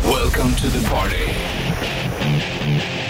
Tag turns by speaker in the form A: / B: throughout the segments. A: Welcome to the party.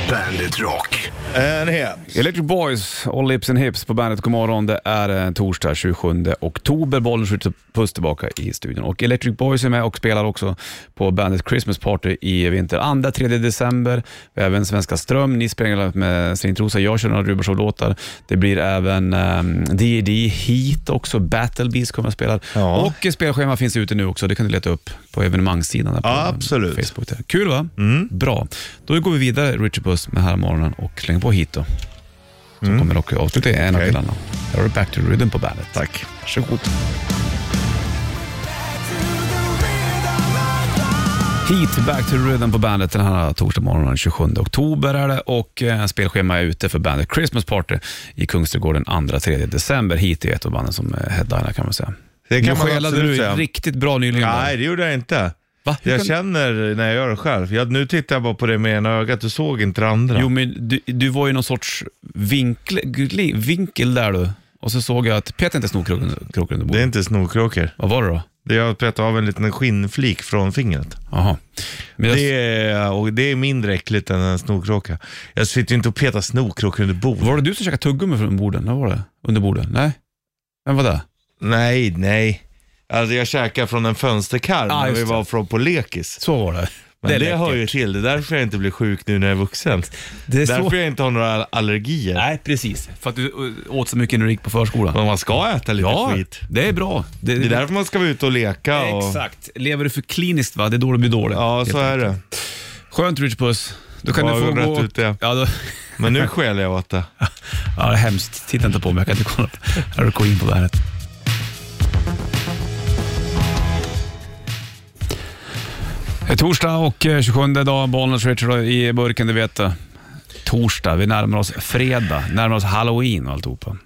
A: Bandit Rock.
B: En hemsk.
C: Electric Boys, All Lips and Hips på bandet. God morgon. Det är eh, torsdag 27 oktober. Bollen skjuter puss tillbaka i studion. Och Electric Boys är med och spelar också på bandet Christmas Party i vinter. 2-3 december. Vi har även Svenska Ström. Ni spelar med Strintrosa. Jag kör några Rubershow-låtar. Det blir även um, D&D Heat också. Battle Beast kommer att spela.
B: Ja.
C: Och eh, spelschema finns ute nu också. Det kan du leta upp på evenemangssidan. Där på
B: Ja, absolut. Mm.
C: Facebook. Där. Kul va? Bra. Då går vi vidare, Richard Puss, med här morgonen och slänger på hit då. Så kommer och avsluta i en
B: Okej.
C: av delarna. Här har du Back to Rhythm på bandet.
B: Tack.
C: Varsågod. Hit, Back to Rhythm på bandet den här torsdagsmorgonen den 27 oktober är det och eh, spelschema är ute för bandet Christmas Party i Kungsträdgården 2-3 december. Hit är ett av banden som eh, headlinar kan man säga.
B: Det kan
C: nu
B: man
C: skelade
B: absolut
C: du
B: säga.
C: riktigt bra nyligen.
B: Nej,
C: där.
B: det gjorde jag inte.
C: Va? Hur
B: Jag
C: kan-
B: känner när jag gör det själv. Jag, nu tittar jag bara på det med ena ögat, du såg inte det andra.
C: Jo, men du, du var ju någon sorts vinkel, gli- vinkel där du. Och så såg jag att, peta inte snorkroken kroken under
B: Det
C: bordet.
B: är inte snorkråkor.
C: Vad var det då?
B: Det är jag petar av en liten skinnflik från fingret.
C: Jaha. Men jag,
B: Det är, och det är mindre äckligt än en snorkråka. Jag sitter ju inte och petar snorkråkor under bordet.
C: Var det du som käkade tuggummi från borden? Vad var det? Under borden? Nej? Vem var det?
B: Nej, nej. Alltså jag käkade från en fönsterkarm
C: Ah,
B: när
C: just
B: vi
C: det.
B: var från på lekis.
C: Så var det.
B: Men det, hör ju
C: läckert.
B: till. Det är därför jag inte blir sjuk nu när jag är vuxen.
C: Det är
B: därför
C: så...
B: jag inte har några allergier.
C: Nej, precis. För att du ö, åt så mycket när du gick på förskolan.
B: Men man ska äta lite
C: Ja,
B: skit.
C: det är bra. Det,
B: Det är därför man ska vara ute och leka. Och,
C: Exakt. Lever du för kliniskt, va? det är då du blir dålig.
B: Ja, så
C: Helt
B: är det.
C: Skönt, Richard Puss. Då kan
B: Ja,
C: du få
B: jag har
C: gå...
B: rätt ut det.
C: Ja, då...
B: Men nu skäller jag åt det.
C: Ja, det är hemskt. Titta inte på mig, jag kan inte kolla på. Här har du Queen på bandet. Det är torsdag och eh, 27 dag, Bollnäs Richard i burken, du vet det. Torsdag, vi närmar oss fredag, närmar oss halloween och alltihopa.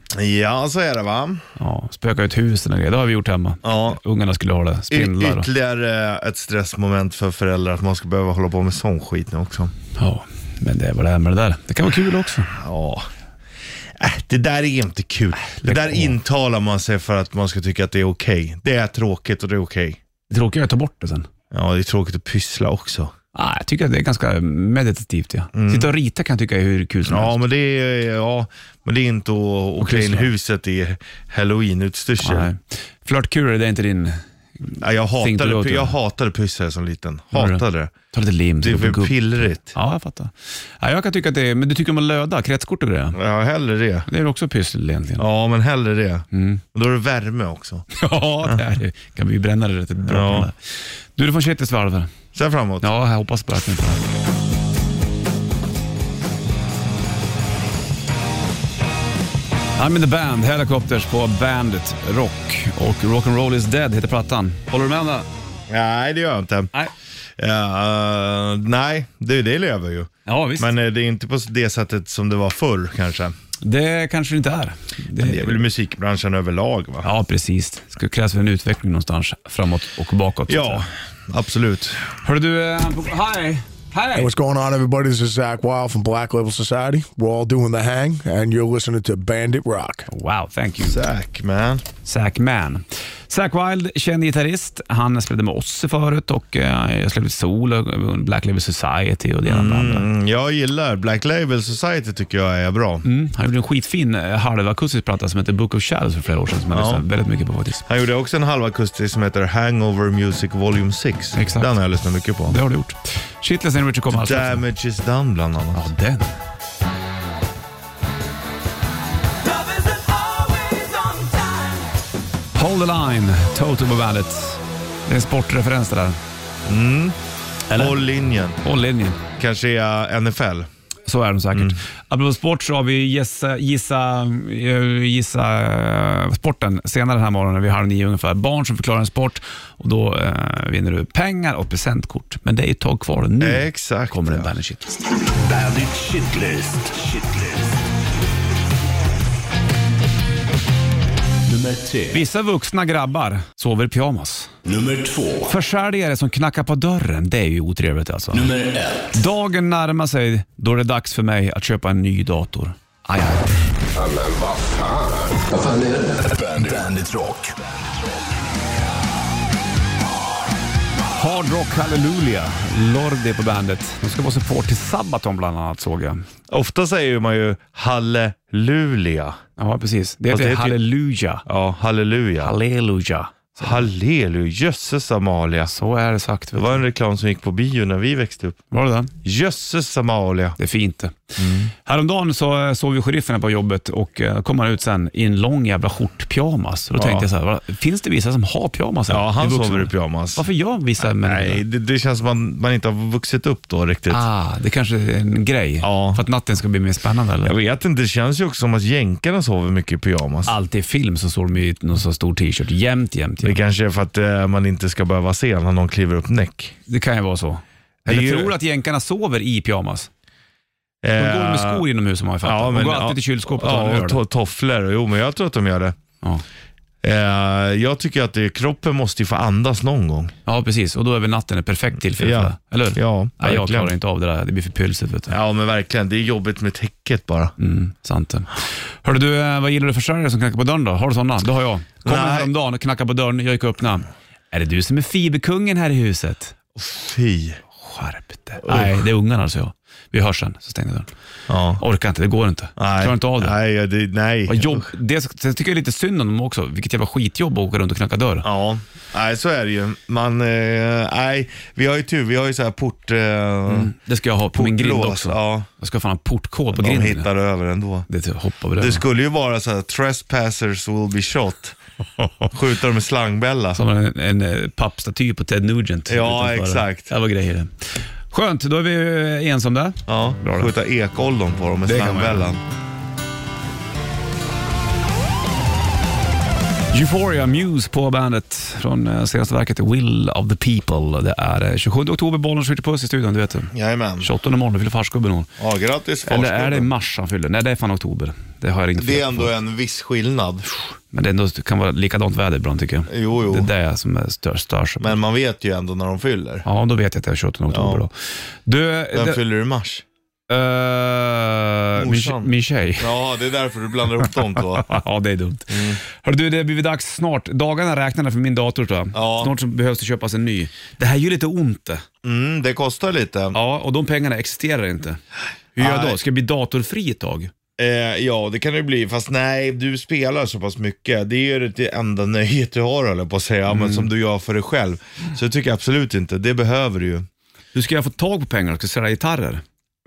B: Ja, så är det va.
C: Ja, spöka ut husen och grejer, det har vi gjort hemma.
B: Ja.
C: Ungarna skulle ha det,
B: Y-
C: spindlar och...
B: ytterligare ett stressmoment för föräldrar att man ska behöva hålla på med sån skit nu också.
C: Ja, men det är vad det är med det där. Det kan vara kul också.
B: Ja. Äh, det där är inte kul.
C: Äh,
B: Det där intalar man sig för att man ska tycka att det är okej. Det är tråkigt och det är okej.
C: Det tråkiga är att ta bort det sen.
B: Ja, det är tråkigt att pyssla också.
C: Ah, jag tycker att det är ganska meditativt. Ja. Sitta och rita kan jag tycka är hur kul som helst.
B: Ja, men det är, ja, men det är inte att att klä in
C: Mm. pyssla.
B: huset i halloween-utstyrsel.
C: Nej. Flörtkulor, det är inte din...
B: Ja, jag,
C: Think to do
B: hatade,
C: it.
B: jag hatade pyssel som liten.
C: Var det?
B: Hatade det.
C: Ta lite lim.
B: Det är
C: sätta på
B: för
C: gubb.
B: pillrigt.
C: Ja, jag fattar. Ja, jag kan tycka att det är... Men du tycker om att löda, kretskort och grejer?
B: Ja, hellre det.
C: Det är väl också pyssel egentligen?
B: Ja, men hellre det.
C: Mm.
B: Och Då är det värme också.
C: Ja, det är det. Kan vi bränna det rätt bra
B: Ja.
C: på den där. Du, du får köra ett svarv.
B: Sen framåt.
C: Ja, jag hoppas på att ni får det. I'm in the band, Helicopters på Bandit Rock. Och Rock'n'Roll is dead heter plattan. Håller du med om det?
B: Nej, det gör jag inte.
C: Nej.
B: Ja, nej, det, det lever ju.
C: Ja, visst.
B: Men eh, det är inte på det sättet som det var förr kanske.
C: det kanske det inte är.
B: Det är väl musikbranschen överlag va?
C: Ja, precis. Det krävs väl en utveckling någonstans framåt och bakåt. så att
B: Ja,
C: säga.
B: absolut.
C: Hörru du, eh, hej!
D: Hey,
C: Hej!
D: what's going on, everybody? This is Zach Wild from Black Label Society. We're all doing the hang, and you're listening to Bandit Rock.
C: Wow, thank you.
B: Zack man.
C: Zack Man. Zack Wild, känd gitarrist. Han spelade med oss förut och eh, jag släppte sol och Black Label Society och det ena med det andra.
B: Mm, jag gillar Black Label Society tycker jag är bra.
C: Mm. Han gjorde en skitfin eh, halvakustisk platta som heter Book of Shadows för flera år sedan som jag
B: Ja.
C: lyssnade väldigt mycket på faktiskt.
B: Han gjorde också en halvakustisk som heter Hangover Music Volume 6.
C: Exakt.
B: Den har jag lyssnat mycket på.
C: Det har du gjort. Shitless and Richard kommer alldeles strax.
B: Damage is done bland annat.
C: Ja, den. Hold the line, Toto på bandet. Det är en sportreferens det där. Eller?
B: Håll linjen.
C: Håll linjen.
B: Kanske är NFL.
C: Så är de säkert. Apropå sport så har vi gissa, gissa, eh, gissa eh, sporten senare den här morgonen vid halv nio ungefär. Barn som förklarar en sport och då eh, vinner du pengar och presentkort. Men det är ju ett tag kvar nu.
B: Exakt,
C: Mm. Kommer den
B: ja.
C: Bandit Shitlist.
A: Bandit Shitlist. Shitlist. Nummer tre.
C: Vissa vuxna grabbar sover i pyjamas.
A: Nummer två.
C: Försäljare som knackar på dörren, det är ju otrevligt alltså.
A: Nummer ett.
C: Dagen närmar sig då det är dags för mig att köpa en ny dator. Aj, aj.
A: Vad fan är det? Bandit, Rock.
C: Hard Rock Hallelujah, Lordi på bandet. De ska vara support till Sabaton bland annat såg jag.
B: Ofta säger man ju halleluja.
C: Ja, precis. Det
B: Fast
C: heter
B: det typ- heter ju-
C: Halleluja.
B: Ja, halleluja.
C: Halleluja.
B: Halleluja, jösses Amalia.
C: Så är det sagt.
B: Det
C: Vet du.
B: var en reklam som gick på bio när vi växte upp.
C: Var det den?
B: Jösses Amalia.
C: Det är fint det.
B: Mm.
C: Häromdagen så eh, såg vi sheriffen här på jobbet och eh, kom han ut sen i en lång jävla skjortpyjamas. Då tänkte jag så här, "Va, finns det vissa som har pyjamas? här?
B: Ja, han
C: I vuxen
B: sover i
C: ålder?"
B: pyjamas.
C: Varför gör vissa människor
B: Nej,
C: det?
B: det, det känns som att man, man inte har vuxit upp då riktigt.
C: Ah, det kanske är en grej?
B: Ja.
C: För att natten ska bli mer spännande eller?
B: Jag vet inte, det känns ju också som att jänkarna sover mycket i pyjamas.
C: Alltid i film så står de i någon sån stor t-shirt. Jämt, jämt,
B: Det
C: jämt.
B: kanske är för att eh, man inte ska behöva se när någon kliver upp näck.
C: Det kan ju vara så.
B: Det är
C: Eller
B: ju-
C: tror du att jänkarna sover i pyjamas? De går med skor inomhus om man fattar.
B: Eh, Ja, men,
C: de går alltid
B: ja,
C: till kylskåpet och tar en
B: Ja,
C: öl.
B: och to- tofflor. Jo, men jag tror att de gör det.
C: ja.
B: Eh, jag tycker att det, kroppen måste ju få andas någon gång.
C: ja, precis. Och då är väl natten ett perfekt tillfälle
B: Ja.
C: för det. Eller hur?
B: Ja,
C: Nej, jag
B: verkligen.
C: klarar inte av det där. Det blir för pylsigt. Vet du.
B: Ja, men verkligen. Det är jobbigt med täcket bara.
C: Mm, sant det. Hörde du, eh, vad gillar du för försäljare som knackar på dörren då? Har du sådana? Det har jag. Kom
B: Nej.
C: häromdagen och knackade på dörren. Jag gick och öppnade. Är det du som är fiberkungen här i huset?
B: Fy.
C: Skärp dig. Nej, det är ungarna alltså jag. Vi hörs sen, så stänger jag dörren.
B: Ja.
C: Orkar inte, det går inte.
B: Nej.
C: Klarar inte av det.
B: Nej, ja, det, nej.
C: Vad jobb, det sen tycker jag lite synd om dem också. Vilket jävla skitjobb att åka runt och knacka dörr.
B: Ja, nej så är det ju. Man, eh, nej, vi har ju tur, vi har ju så här port... Eh,
C: Det ska jag ha på min grind
B: portlås.
C: också.
B: Ja,
C: Jag ska fan ha portkod på
B: de
C: grinden.
B: hittar över ändå.
C: Det typ- hoppar vi
B: Det
C: över.
B: skulle ju vara så här, trespassers will be shot. Skjuta dem med slangbella.
C: Som en, en eh, pappstaty på Ted Nugent.
B: Ja,
C: Utanför.
B: exakt.
C: Det var grejer det. Skönt, då är vi eh, ens om det.
B: Ja,
C: Bra det.
B: skjuta ekollon på dem med
C: Det kan man
B: slangbällan.
C: Euphoria Muse på bandet från eh, senaste verket Will of the People. Det är eh, 27 oktober, bollen skjuter puss i studion, du vet.
B: Jajamän.
C: 28 imorgon fyller farsgubben år.
B: Ja, grattis
C: Eller är det
B: farsgubben.
C: mars han fyller? Nej, det är fan oktober. Det har jag ringt
B: Det är
C: fel på.
B: ändå en viss skillnad.
C: Men det är ändå, kan vara likadant väder ibland tycker jag.
B: Jo, jo.
C: Det är det som är stör, störs.
B: Men man vet ju ändå när de fyller.
C: Ja, då vet jag att det är 28 oktober då. Du,
B: Vem
C: det-
B: fyller i mars?
C: eh, min, tje-
B: Morsan.
C: min tjej.
B: Ja, det är därför du blandar upp dem två.
C: Ja, det är dumt.
B: Mm.
C: Hörru du, det har blivit dags snart. Dagarna räknade för min dator tror jag.
B: Ja.
C: Snart så behövs det köpas en ny. Det här gör lite ont det.
B: Mm, det kostar lite.
C: Ja, och de pengarna existerar inte. Hur gör jag då?
B: Nej.
C: Ska jag bli datorfri ett tag?
B: Eh, ja, det kan det bli. Fast nej, du spelar så pass mycket. Det är ju det enda nöjet du har, höll jag på att säga.
C: Mm.
B: Men som du gör för dig själv. Så det tycker jag absolut inte. Det behöver du ju.
C: Hur ska jag få tag på pengar? Ska jag sälja gitarrer?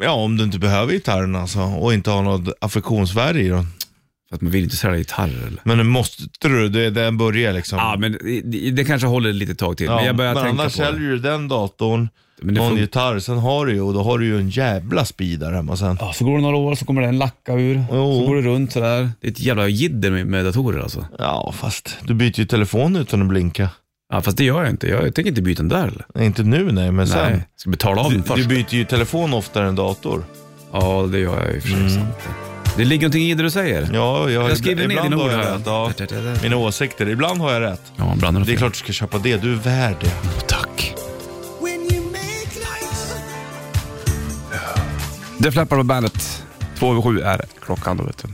B: Ja, om du inte behöver gitarren alltså. Och inte har något affektionsvärde i den.
C: För att man vill inte sälja gitarrer eller?
B: Men måste du, det, den börjar liksom.
C: Ja, men det, det kanske håller lite tag till.
B: Ja,
C: men jag börjar tänka
B: annars
C: på det.
B: säljer du den datorn,
C: Men det
B: någon
C: fun-
B: gitarr, sen har du ju, och då har du ju en jävla speed där hemma sen.
C: Ja, så går det några år så kommer den lacka ur. Så
B: Jo.
C: går det runt sådär. Det är ett jävla jidder med, med datorer alltså.
B: Ja, fast du byter ju telefon utan att blinka.
C: Ja, fast det gör jag inte. Jag, jag tänker inte byta den där eller?
B: Inte nu nej, men sen.
C: Nej, ska betala av
B: Du,
C: den först.
B: du byter ju telefon oftare än dator.
C: Ja, det gör jag i och för sig. sant. Det ligger någonting i det du säger.
B: Mm. Ja, jag,
C: Jag skriver ner
B: ibland
C: dina ord
B: har
C: här.
B: jag rätt. Ja. Mina åsikter, ibland har jag rätt.
C: Ja, ibland är
B: Det är
C: fel.
B: klart du ska köpa det, du är värd det.
C: Tack. Det flappar på bandet. Två över sju är klockan då, vet du.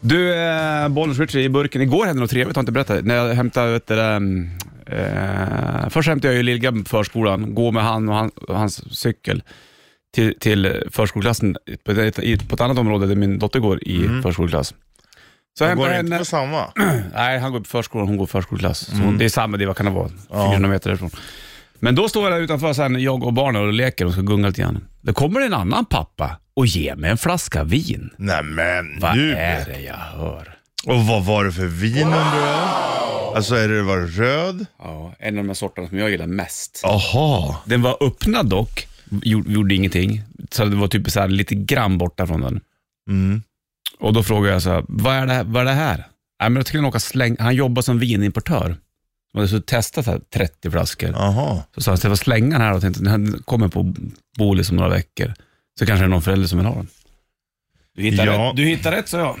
C: Du, eh, Bollnäs Richie i burken. Igår hände något trevligt, har jag inte berättat. När jag hämtade, vet du, ehm, eh, först hämtade jag ju lillgrabben på förskolan, gå med han och, han, och hans cykel till, till förskoleklassen på ett, i- på ett annat område där min dotter går i förskoleklass. Så jag hämtade henne.
B: samma?
C: Nej, han går på förskolan, hon går förskoleklass. Så det är samma, det är- vad kan det vara? 400 meter därifrån. Men då står jag där utanför sen, jag och barnen och leker och ska gunga lite grann. Då kommer en annan pappa och ger mig en flaska vin.
B: Nej men,
C: Vad
B: du.
C: är det jag hör?
B: Och vad var det för vin undrar jag? Alltså är det var det röd?
C: Ja, en av de här sorterna som jag gillar mest.
B: Aha.
C: Den var öppnad dock, gjorde, gjorde ingenting. Så det var typ så här lite grann borta från den.
B: Mm.
C: Och då frågade jag så här, vad är det här? Vad är det här? Nej, men jag tycker han åka släng... Han jobbar som vinimportör. Han hade så testat så här 30 flaskor.
B: Aha.
C: Så sa han, ska jag slänga den här och tänkte, den här kommer på Bolis om några veckor. Så kanske det är någon förälder som vill ha den. Du hittar,
B: Ja.
C: rätt. du hittar rätt, sa jag.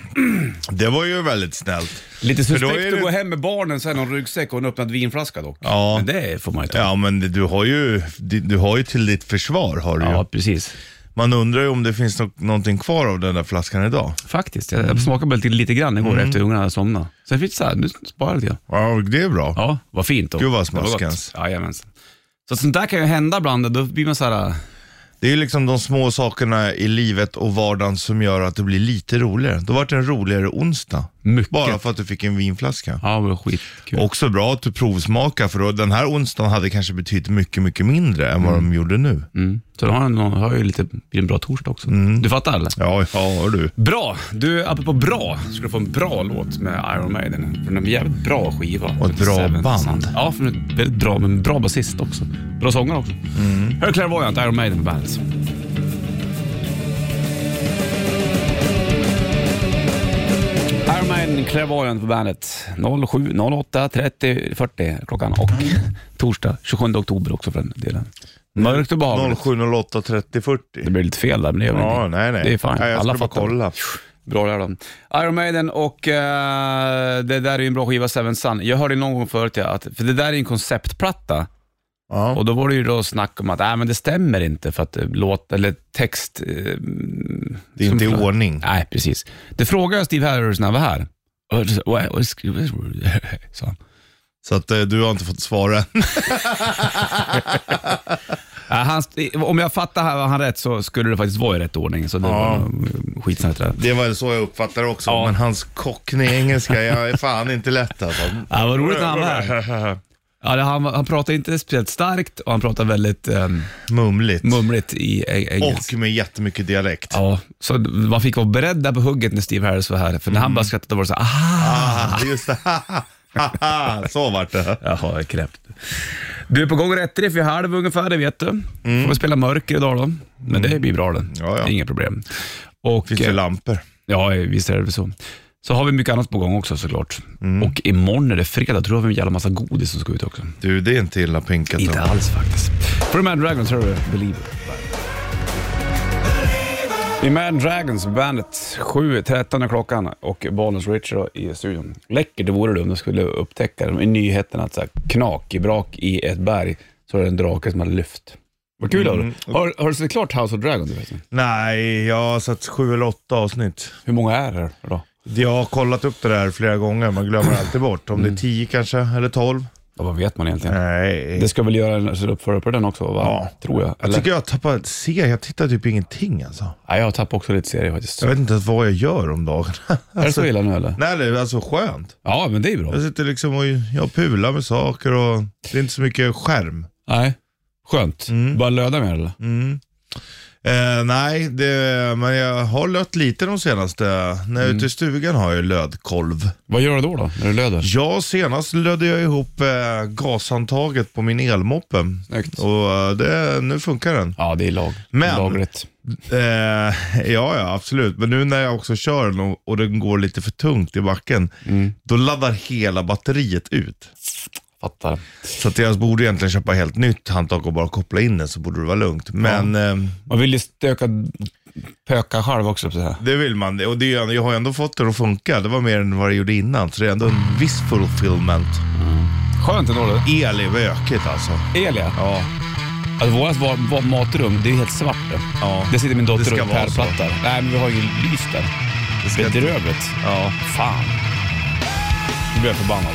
B: Det var ju väldigt snällt.
C: Lite
B: då
C: suspekt
B: är det-
C: att gå hem med barnen sen någon ryggsäck och en öppnad vinflaska dock.
B: Ja.
C: Men det får man ju ta.
B: Ja men det- du har ju, du du har ju till ditt försvar har du
C: Ja,
B: ju.
C: precis.
B: Man undrar ju om det finns no- någonting kvar av den där flaskan idag.
C: Faktiskt. Jag jag smakade bara lite, lite grann igår
B: Mm.
C: efter ungarna hade somnat. Sen fick jag så här, nu sparar jag lite grann.
B: Ja, det är bra.
C: Ja, vad fint då.
B: Gud, vad
C: Det var gott.
B: smaskens.
C: Jajamensan. Så att sånt där kan ju hända ibland, då blir man så här.
B: Det är ju liksom de små sakerna i livet och vardagen som gör att det blir lite roligare. Då vart det en roligare onsdag.
C: Mycket.
B: Bara för att du fick en vinflaska.
C: Ja, det var skitkul.
B: Också bra att du provsmakar för då, den här onsdagen hade kanske betytt mycket, mycket mindre än vad de gjorde nu.
C: Mm. Så då har han har ju lite, blir en bra torsdag också.
B: Mm.
C: Du fattar eller?
B: Ja, ja du.
C: Bra! Du, apropå bra, så ska du få en bra låt med Iron Maiden. Från en jävligt bra skiva.
B: Och ett bra
C: Seven
B: band.
C: Sons. Ja, från ett väldigt bra, men bra basist också. Bra sångare också. Mm. Här är Clairvoyant, Iron Maiden på bandet. Iron Maiden, Clairvoyant på bandet. 07, 08, 30, 40 klockan och torsdag 27 oktober också för den delen. Mörkt och behagligt.
B: 0708 30 40.
C: Det blir lite fel där, men det gör väl
B: Ja,
C: ingenting.
B: nej, nej.
C: Det är fine.
B: Ja, jag
C: Alla
B: skulle bara
C: fattar.
B: kolla.
C: Bra där då. Iron Maiden och eh, det där är ju en bra skiva, Seven Sun. Jag hörde någon gång förut, ja, att, för det där är en konceptplatta.
B: Ja.
C: Och då var det ju då snack om att äh, men det stämmer inte för att eh, låt, eller text... eh, mm,
B: Det är inte i
C: som-
B: ordning.
C: Nej, precis. Det frågade jag Steve Harris när han var här. Och så- och- och- sa han.
B: Så att eh, du har inte fått svara.
C: Äh, han, om jag fattar han rätt så skulle det faktiskt vara i rätt ordning, så det var nog eh, skitsnack det där.
B: Det var så jag uppfattar det också.
C: Ja.
B: Men hans kockning i engelska, jag är fan inte lätt alltså.
C: Ja, Äh, vad roligt när han var här. Ja, det, han, han pratade inte speciellt starkt och han pratade väldigt ehm,
B: Mumligt.
C: mumligt i eng- engelska.
B: Och med jättemycket dialekt.
C: Ja, så man fick vara beredd där på hugget när Steve Harris var här. För när han bara skrattade då var det så här, aha!
B: Ah, just det. Ah, så vart det.
C: Jaha, jag knäppt. Du är på gång rätt riff vid halv ungefär, det vet du. Får vi spela mörker idag då. Men det blir bra det.
B: Ja, ja.
C: Inga problem. Och, eh,
B: Finns det lampor?
C: Ja, visst är det väl så. Så har vi mycket annat på gång också såklart. Och imorgon är det fredag, tror jag vi har en jävla massa godis som ska ut också.
B: Du, det är inte illa pinkat.
C: Inte
B: då.
C: alls faktiskt. För Imagine Dragons hör du Believer. Imagine Dragons, bandet. 7.13 är klockan och Bonus Richard i studion. Läckert det vore det om de skulle upptäcka det. i nyheterna att så här, knak i brak i ett berg så är det en drake som har lyft. Vad kul mm. har, har du sett klart House of Dragon? Du vet?
B: Nej, jag har sett sju eller åtta avsnitt.
C: Hur många är det då?
B: Jag har kollat upp det där flera gånger, man
C: Mm.
B: glömmer alltid bort. Om det är tio kanske, eller tolv.
C: Ja, vad vet man egentligen?
B: Nej.
C: Det ska väl göra en så uppföra på den också, va?
B: Ja.
C: tror jag.
B: Jag
C: Eller?
B: tycker jag tappar, se, jag tittar typ ingenting alltså.
C: Nej, jag tappar också lite serier faktiskt.
B: Jag vet inte ens vad jag gör om dagarna.
C: Är det så illa nu eller?
B: Nej, det är alltså skönt.
C: Ja, men det är bra.
B: Jag sitter liksom och jag pular med saker och det är inte så mycket skärm.
C: Nej. Skönt.
B: Mm.
C: Bara löda med eller?
B: Eh, nej, det, men jag har lött lite de senaste. När jag är ute i stugan har jag lödkolv.
C: Vad gör du då, då när du löder?
B: Ja, senast lödde jag ihop eh, gashandtaget på min elmoppe.
C: Snyggt.
B: Och eh, det, nu funkar den.
C: Ja, det är lag.
B: Men-
C: lagligt.
B: Eh, ja, ja, absolut. Men nu när jag också kör den och, och den går lite för tungt i backen, då laddar hela batteriet ut.
C: Fattar.
B: Så att jag borde egentligen köpa helt nytt handtag och bara koppla in den så borde det vara lugnt. Men eh,
C: Man vill ju stöka, pöka själv också. Så här.
B: det vill man. Och det, jag har ju ändå fått det att funka. Det var mer än vad det gjorde innan. Så det är ändå en viss fulfillment.
C: Skönt ändå. det.
B: El är bökigt alltså.
C: El ja.
B: Ja,
C: Alltså, vårt var, var matrum, det är helt svart. Det,
B: Ja.
C: det sitter min
B: Det
C: dotter
B: ska
C: och
B: vara så.
C: pärlplattar. Nej, men vi har ju lys där.
B: det ska
C: Bedrövligt.
B: ja.
C: Fan. Nu blir jag förbannad.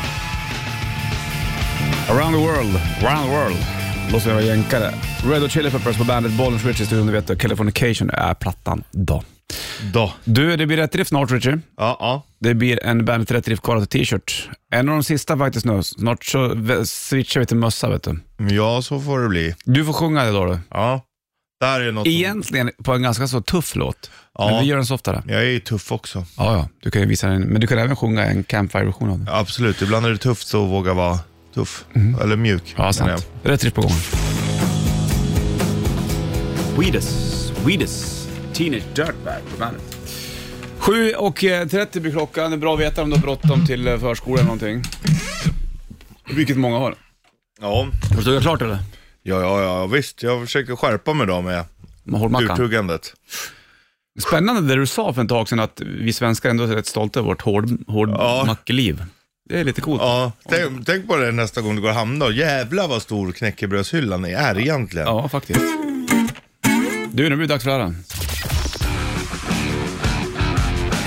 C: Around the world, around the world. Låt oss vara jänkare. Red Hot Chili Peppers på bandet Bollens Richie i studion, du vet. och Californication är plattan då.
B: Då.
C: Du, det blir rätt drift snart Richie.
B: Ja, ja.
C: Det blir en Bandet Rätt Drift Karate t-shirt. En av de sista faktiskt nu. Snart så vä- switchar vi till mössa vet du.
B: Ja, så får det bli.
C: Du får sjunga idag då.
B: Ja. Där är något. som-
C: Egentligen på en ganska så tuff låt. Men vi gör den softare.
B: Jag är ju tuff också.
C: Ja, ja. Du kan ju visa den. Men du kan även sjunga en campfire-version av den.
B: Absolut, ibland är det tufft att våga vara tuff. Eller mjuk.
C: Mhm. Ja,
B: menar
C: sant. Rätt drift på gång.
A: Weedus, Weedus.
C: Teenage Dirtbag på bandet. 7 och eh, 30 blir klockan. Det är bra att veta om du har bråttom till eh, förskolan eller någonting. Vilket många har.
B: jag.
C: Har du tuggat klart eller?
B: Ja, ja, ja, visst. Jag försöker skärpa mig då med
C: Hårdmackan.
B: urtuggandet.
C: Spännande det du sa för ett tag sedan att vi svenskar ändå är rätt stolta över vårt hård- hårdmackeliv. Det är lite coolt.
B: Ja, tänk, tänk på det nästa gång du går och hamnar. Jävlar vad stor knäckebrödshyllan är egentligen.
C: Ja, faktiskt. Du, nu blir det dags för lördagen.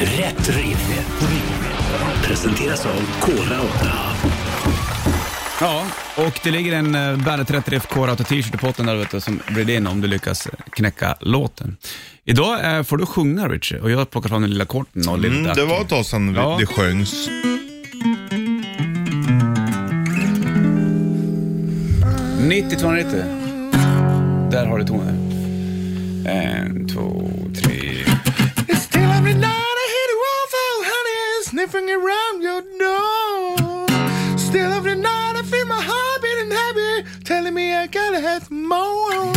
A: Rätt riff. Presenteras av Kora 8.
C: Ja, och det ligger en eh, Bandet 30 FK Rauta t-shirt i potten där vet du, som blir din om du lyckas eh, knäcka låten. Idag eh, får du sjunga Richie och jag har plockat fram den lilla korten och lilla
B: Mm, det var ett tag sedan vi-
C: Ja.
B: det sjöngs.
C: dacken. 90 290. Där har du tonen. En, två, tre.
B: It's still every night I hear the waffle honey sniffing around your door. Still every night I feel my heart beating heavy telling me I gotta have more.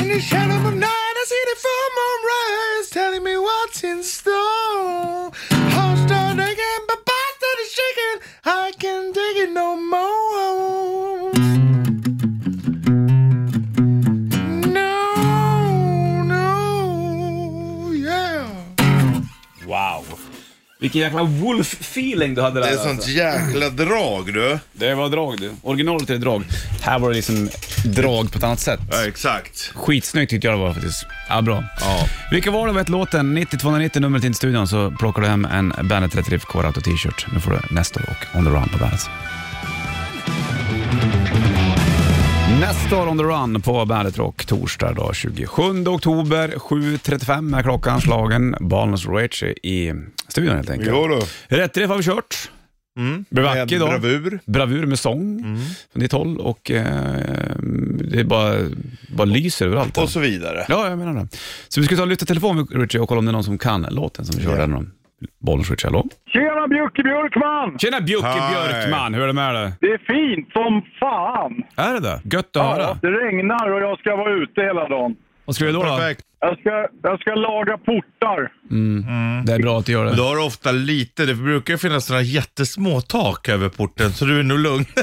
B: In the shadow of night, I see the full moon rise, telling me what's in store. Heart's done again, but back to the shaking. I can't take it no more. No, no, yeah.
C: Wow. Vilken jäkla wolf-feeling du hade där.
B: Det är
C: alltså.
B: sånt jäkla drag du.
C: det var drag du. Originalet är drag. Här var det liksom drag på ett annat sätt.
B: Ja, exakt.
C: Skitsnyggt tyckte jag det var faktiskt. Ja, bra. Vilka var det vet låten? 9290 numret in till studion så plockar du hem en Bandet 30 FK Rauta t-shirt. Nu får du Nestor och On the Run på Bandet. Nestor on the run på Bandet Rock torsdag då, 27 oktober. 7.35 är klockan slagen. Balnus Richie i studion helt enkelt.
B: Jo då.
C: Rätt träff har vi kört. Bevacke
B: Med
C: idag.
B: bravur.
C: Bravur med sång
B: Mm.
C: från ditt håll och eh, det är bara, bara lyser överallt.
B: Och så vidare.
C: Ja, jag menar det. Så vi ska ta och lyfta telefon Richie och kolla om det är någon som kan låten som vi körde. Yeah. Bollens Richie, hallå?
E: Tjena Bjucke Björkman!
C: Tjena Bjucke
B: Hej.
C: Björkman, hur är det med dig?
E: Det är fint som fan!
C: Är det det? Gött att höra.
E: Det regnar och jag ska vara ute hela dagen.
C: Vad ska vi då? då?
B: Perfekt.
E: Jag ska, jag ska laga portar.
C: Det är bra att du gör
B: Men
C: det.
B: Då har du ofta lite, det brukar ju finnas några jättesmå tak över porten så du är nog lugn.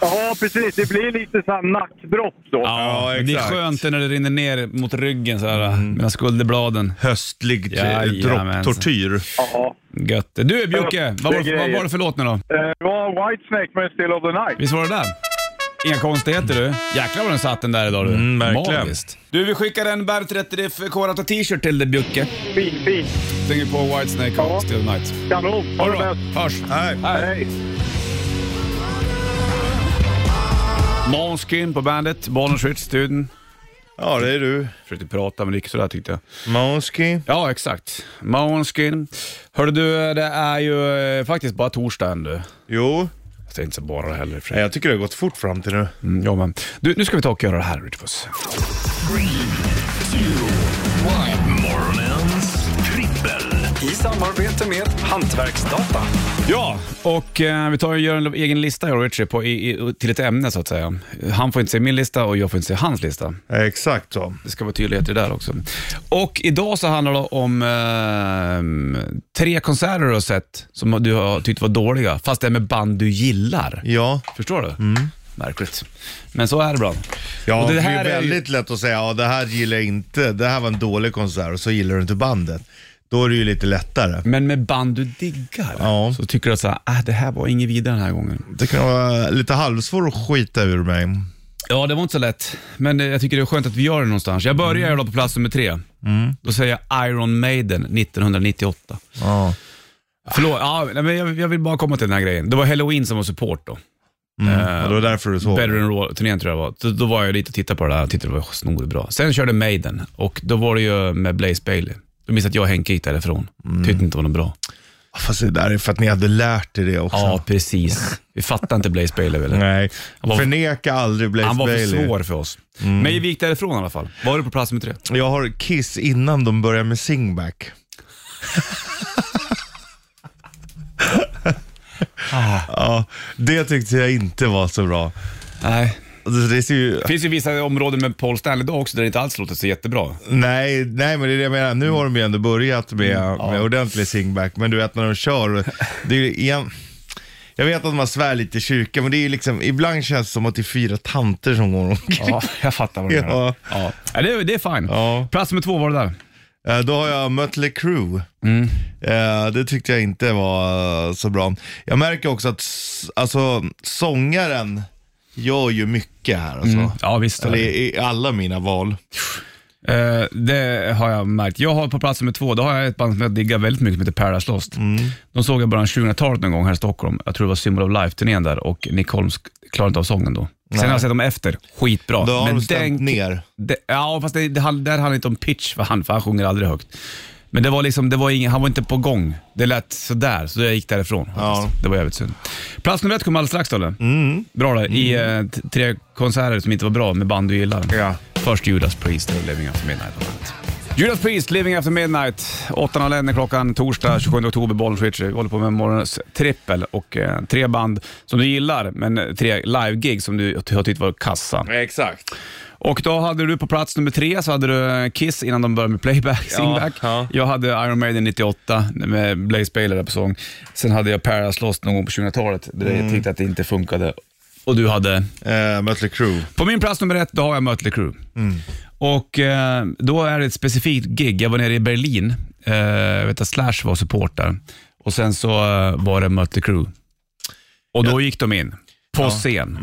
E: Ja, precis. Det blir lite så här nackbrott då.
B: Ja,
C: men det är
B: exakt. Mm.
C: skönt när det rinner ner mot ryggen så här, mellan skulderbladen.
B: Höstlig ja,
C: Jajamensan.
B: dropptortyr.
E: Ja.
C: Gött. Du Bjucke, vad var, det, vad var det för låt nu då?
E: Eh, Det var Whitesnake med Still of the Night.
C: Visst var det där? Inga konstigheter du. Jäklar vad den satt den där idag du.
B: Mm, verkligen.
C: Magiskt. Du, vi skickar en Bärt 30 FK t-shirt till dig Bjucke.
E: Fint, fint.
C: Stänger på Whitesnake
E: Ja.
C: och Still Night.
E: Kanon. Ha det bäst.
C: Hörs!
B: Nej.
E: Hej.
C: Månskin på bandet, Bollnäs Ritz-studion.
B: Ja, det är du.
C: Försökte prata men det gick sådär tyckte jag.
B: Månski.
C: Ja, exakt. Månskin. Hörde du, det är ju eh, faktiskt bara torsdag än du.
B: Jo,
C: Fast Det är inte så bara heller i och för
B: Nej,
C: sig.
B: jag tycker det har gått fort fram till nu.
C: Mm, ja, men. Du, nu ska vi ta och göra det här Ritchpuss.
F: Morgonens trippel. I samarbete med Hantverksdata.
C: Ja, och eh, vi tar och gör en egen lista jag och Richie på, i, i, till ett ämne så att säga. Han får inte se min lista och jag får inte se hans lista.
B: Exakt så.
C: Det ska vara tydlighet i det där också. Och idag så handlar det om eh, tre konserter du har sett som du har tyckt var dåliga, fast det är med band du gillar.
B: Ja, Mm.
C: Förstår du? Märkligt. Men så är det ibland.
B: ja
C: Och
B: det,
C: det
B: är
C: här
B: ju
C: är ju-
B: väldigt lätt att säga ja, det här gillar jag inte, det här var en dålig konsert och så gillar du inte bandet. Då är det ju lite lättare.
C: Men med band du diggar
B: Ja.
C: så tycker du att så här, ah, det här var inget vidare den här gången.
B: Det kan vara lite halvsvårt att skita ur mig. Mm.
C: Ja, det var inte så lätt. Men eh, jag tycker det är skönt att vi gör det någonstans. Jag börjar mm. då på plats nummer tre. Då säger jag Iron Maiden 1998.
B: Ja.
C: Förlåt, ja, nej, men jag, jag vill bara komma till den här grejen. Det var Halloween som var support då.
B: Mm. och det var därför du såg.
C: Eh, Better than Raw-turnén tror jag det var. Så då var jag dit och tittade på det där och tyckte det var snorbra. Sen körde Maiden och då var det ju med Blaze Bailey. Jag minns att jag och Henke gick därifrån. Tyckte inte det var något bra.
B: Ah, Fast det där är för att ni hade lärt er det också.
C: Ja, precis. Vi fattade inte Blaze Bailey väl?
B: Nej,
C: Han var-
B: förneka aldrig Blaze
C: Han var för
B: Bailey.
C: svår för oss. Men vi gick därifrån i alla fall. Var du på plats nummer tre?
B: Jag har Kiss innan de börjar med Singback.
C: Ah.
B: ja, det tyckte jag inte var så bra.
C: Nej.
B: Alltså, Det ser ju,
C: Det finns ju vissa områden med Paul Stanley idag också där det inte alls låter så jättebra.
B: nej, nej, men det är det jag menar.
C: Mm.
B: Nu har de ju ändå börjat med, med ordentlig singback, men du vet när de kör. Det är, ju igen- jag vet att man svär lite i kyrkan, men det är ju liksom, ibland känns det som att det är fyra tanter som går omkring.
C: Ja, jag fattar vad du menar.
B: Ja.
C: Ja. Ja, det, är- det är fine.
B: Ja.
C: Plats nummer två var det där.
B: Eh, Då har jag Mötley Crüe.
C: Mm.
B: Eh, Det tyckte jag inte var eh, så bra. Jag märker också att s- alltså, sångaren gör ju mycket här alltså.
C: Ja, visst.
B: Eller i i alla mina val.
C: Eh, det har jag märkt. Jag har på plats nummer två, då har jag ett band som jag diggar väldigt mycket som heter Paradise Lost.
B: Mm.
C: De såg jag i början av 2000-talet någon gång här i Stockholm. Jag tror det var Symbol of Life-turnén där och Nick Holmes klarade inte av sången då. Sen har jag sett dem efter, skitbra.
B: Då har
C: Men
B: de stämt
C: den-
B: ner.
C: Det, ja, fast det, det, han- där handlar inte om pitch för han, för han sjunger aldrig högt. Men det var liksom, det var ingen, han var inte på gång. Det lät sådär, så jag gick därifrån.
B: Ja. Mm.
C: Det var jävligt synd. Plats nummer ett kommer alldeles strax, Dolle. Bra där. I eh, t- tre konserter som inte var bra med band du gillar.
B: Ja.
C: Först Judas Priest och Living After Midnight. på bandet. Judas Priest, Living After Midnight. 8.01 är klockan torsdag 27 oktober, Bollenswitch. Vi håller på med morgonens trippel och eh, tre band som du gillar, men eh, tre live-gig som du har tyckt var kassa.
B: Exakt.
C: Och då hade du på plats nummer tre så hade du eh, Kiss innan de började med playback, singback.
B: ja.
C: Jag hade Iron Maiden 98 med Blaze Baylor där på sång. Sen hade jag Paradise Lost någon gång på 2000-talet där
B: Mm.
C: jag tyckte att det inte funkade. Och du hade?
B: Eh, Mötley Crüe.
C: På min plats nummer ett, då har jag Mötley Crüe. Och eh, då är det ett specifikt gig. Jag var nere i Berlin. Eh, jag vet att Slash var support där. Och sen så eh, var det Mötley Crüe. Och då gick de in på scen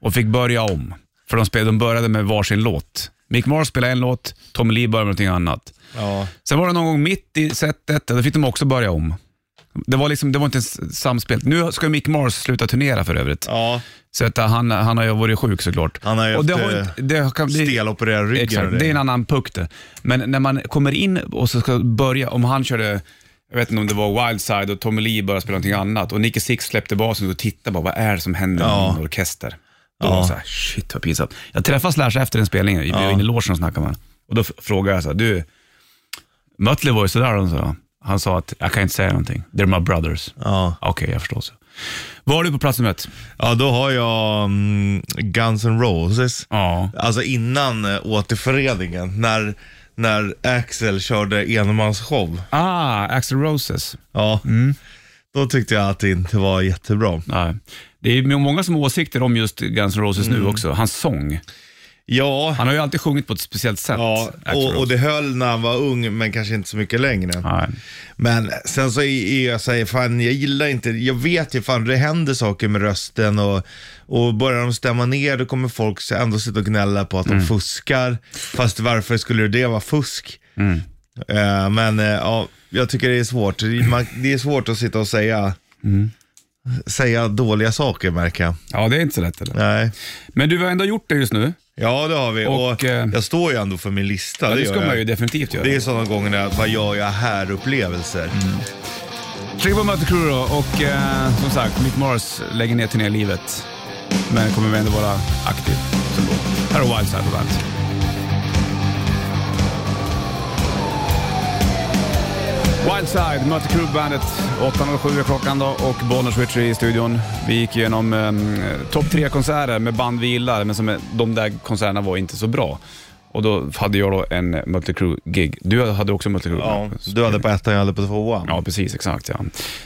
C: och fick börja om. För de, spelade, de började med varsin låt. Mick Mars spelade en låt, Tommy Lee började med någonting annat.
B: Ja.
C: Sen var det någon gång mitt i setet, då fick de också börja om. Det var, liksom, det var inte ens samspelt. Nu ska Mick Mars sluta turnera för övrigt.
B: ja.
C: Så att han, han har ju varit sjuk såklart.
B: Han har ju
C: och det
B: haft,
C: har
B: eh,
C: inte, det kan bli,
B: Steloperera ryggen. och
C: Exakt, det är en annan puck det. Men när man kommer in och så ska börja, om han körde, jag vet inte om det var Wildside och Tommy Lee började spela någonting annat och Nicky Six släppte basen och tittade bara, vad är det som händer med
B: Ja.
C: min orkester? Då var det så här, shit vad pinsamt. Jag träffade Slash efter den spelningen, vi var inne i logen och snackade med honom. Och då f- frågade jag så här, du, Mötley var ju sådär, och så. han sa att jag kan inte säga någonting, they're my brothers.
B: Ja.
C: Okej, jag förstår. Så. Var du på plats nummer ett?
B: Ja, då har jag mm, Guns N' Roses.
C: Ja.
B: Alltså innan eh, återföreningen, när, när Axel körde enmansshow.
C: Ah, Axel Roses.
B: Ja. Då tyckte jag att det inte var jättebra.
C: Nej. Det är många som har åsikter om just Guns N' Roses
B: Mm.
C: nu också. Hans sång.
B: Ja,
C: Han har ju alltid sjungit på ett speciellt sätt.
B: ja
C: Axl
B: och, och
C: Rose.
B: det höll när han var ung, men kanske inte så mycket längre.
C: Nej.
B: Men sen så är är jag säger fan jag gillar inte, jag vet ju fan det händer saker med rösten och, och börjar de stämma ner då kommer folk så ändå sitta och gnälla på att
C: Mm.
B: de fuskar. Fast varför skulle det vara fusk?
C: Mm.
B: Eh, men eh, ja, jag tycker det är svårt. Man, det är svårt att sitta och säga,
C: Mm.
B: säga dåliga saker märker jag.
C: Ja, det är inte så lätt. Eller?
B: Nej.
C: Men du, vi har ändå gjort det just nu.
B: Ja det har vi och,
C: Och, eh,
B: jag står ju ändå för min lista.
C: Ja, det
B: gör
C: ska man
B: jag.
C: ju definitivt göra. Mm.
B: Det är sådana gånger när, vad gör jag här-upplevelser.
C: Tryck på Mötley Crüe då och eh, som sagt, Mick Mars lägger ner turnélivet. Men kommer vi ändå vara aktiv som då. Här har Wildside på bandet. Wildside, möter Crew-bandet. 8.07 är klockan då och Bonnier Switch är i studion. Vi gick igenom eh, topp tre konserter med band vi gillar, men som, är- de där konserterna var inte så bra. Och då hade jag då en Mötley Crüe-gig. Du hade också Mötley Crüe?
B: Ja, du hade på ettan, jag hade på tvåan.
C: Ja, precis. Exakt. Ja.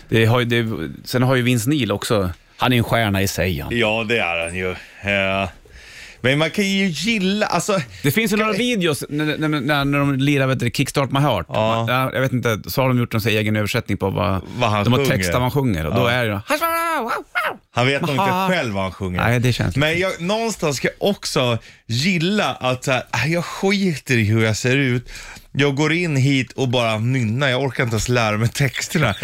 C: Det har, ju- det, sen har ju Vince Neil också, han är en stjärna i sig. Han.
B: Ja, det är han ju. Eh, Men man kan ju gilla, alltså,
C: Det finns ju några videos när, när, när, när de lirar vet du, Kickstart My Heart.
B: Ja.
C: Man- Jag vet inte, så har de gjort en sån här egen översättning på vad,
B: Vad han
C: de har
B: sjunger.
C: textat vad han sjunger. Och Då
B: Ja.
C: är det ju-
B: han vet nog
C: Maha.
B: inte själv vad han sjunger.
C: Nej, det känns
B: Men jag, någonstans ska jag också gilla att så här, "Ah, jag skiter i hur jag ser ut. Jag går in hit och bara nynnar, jag orkar inte ens lära mig texterna.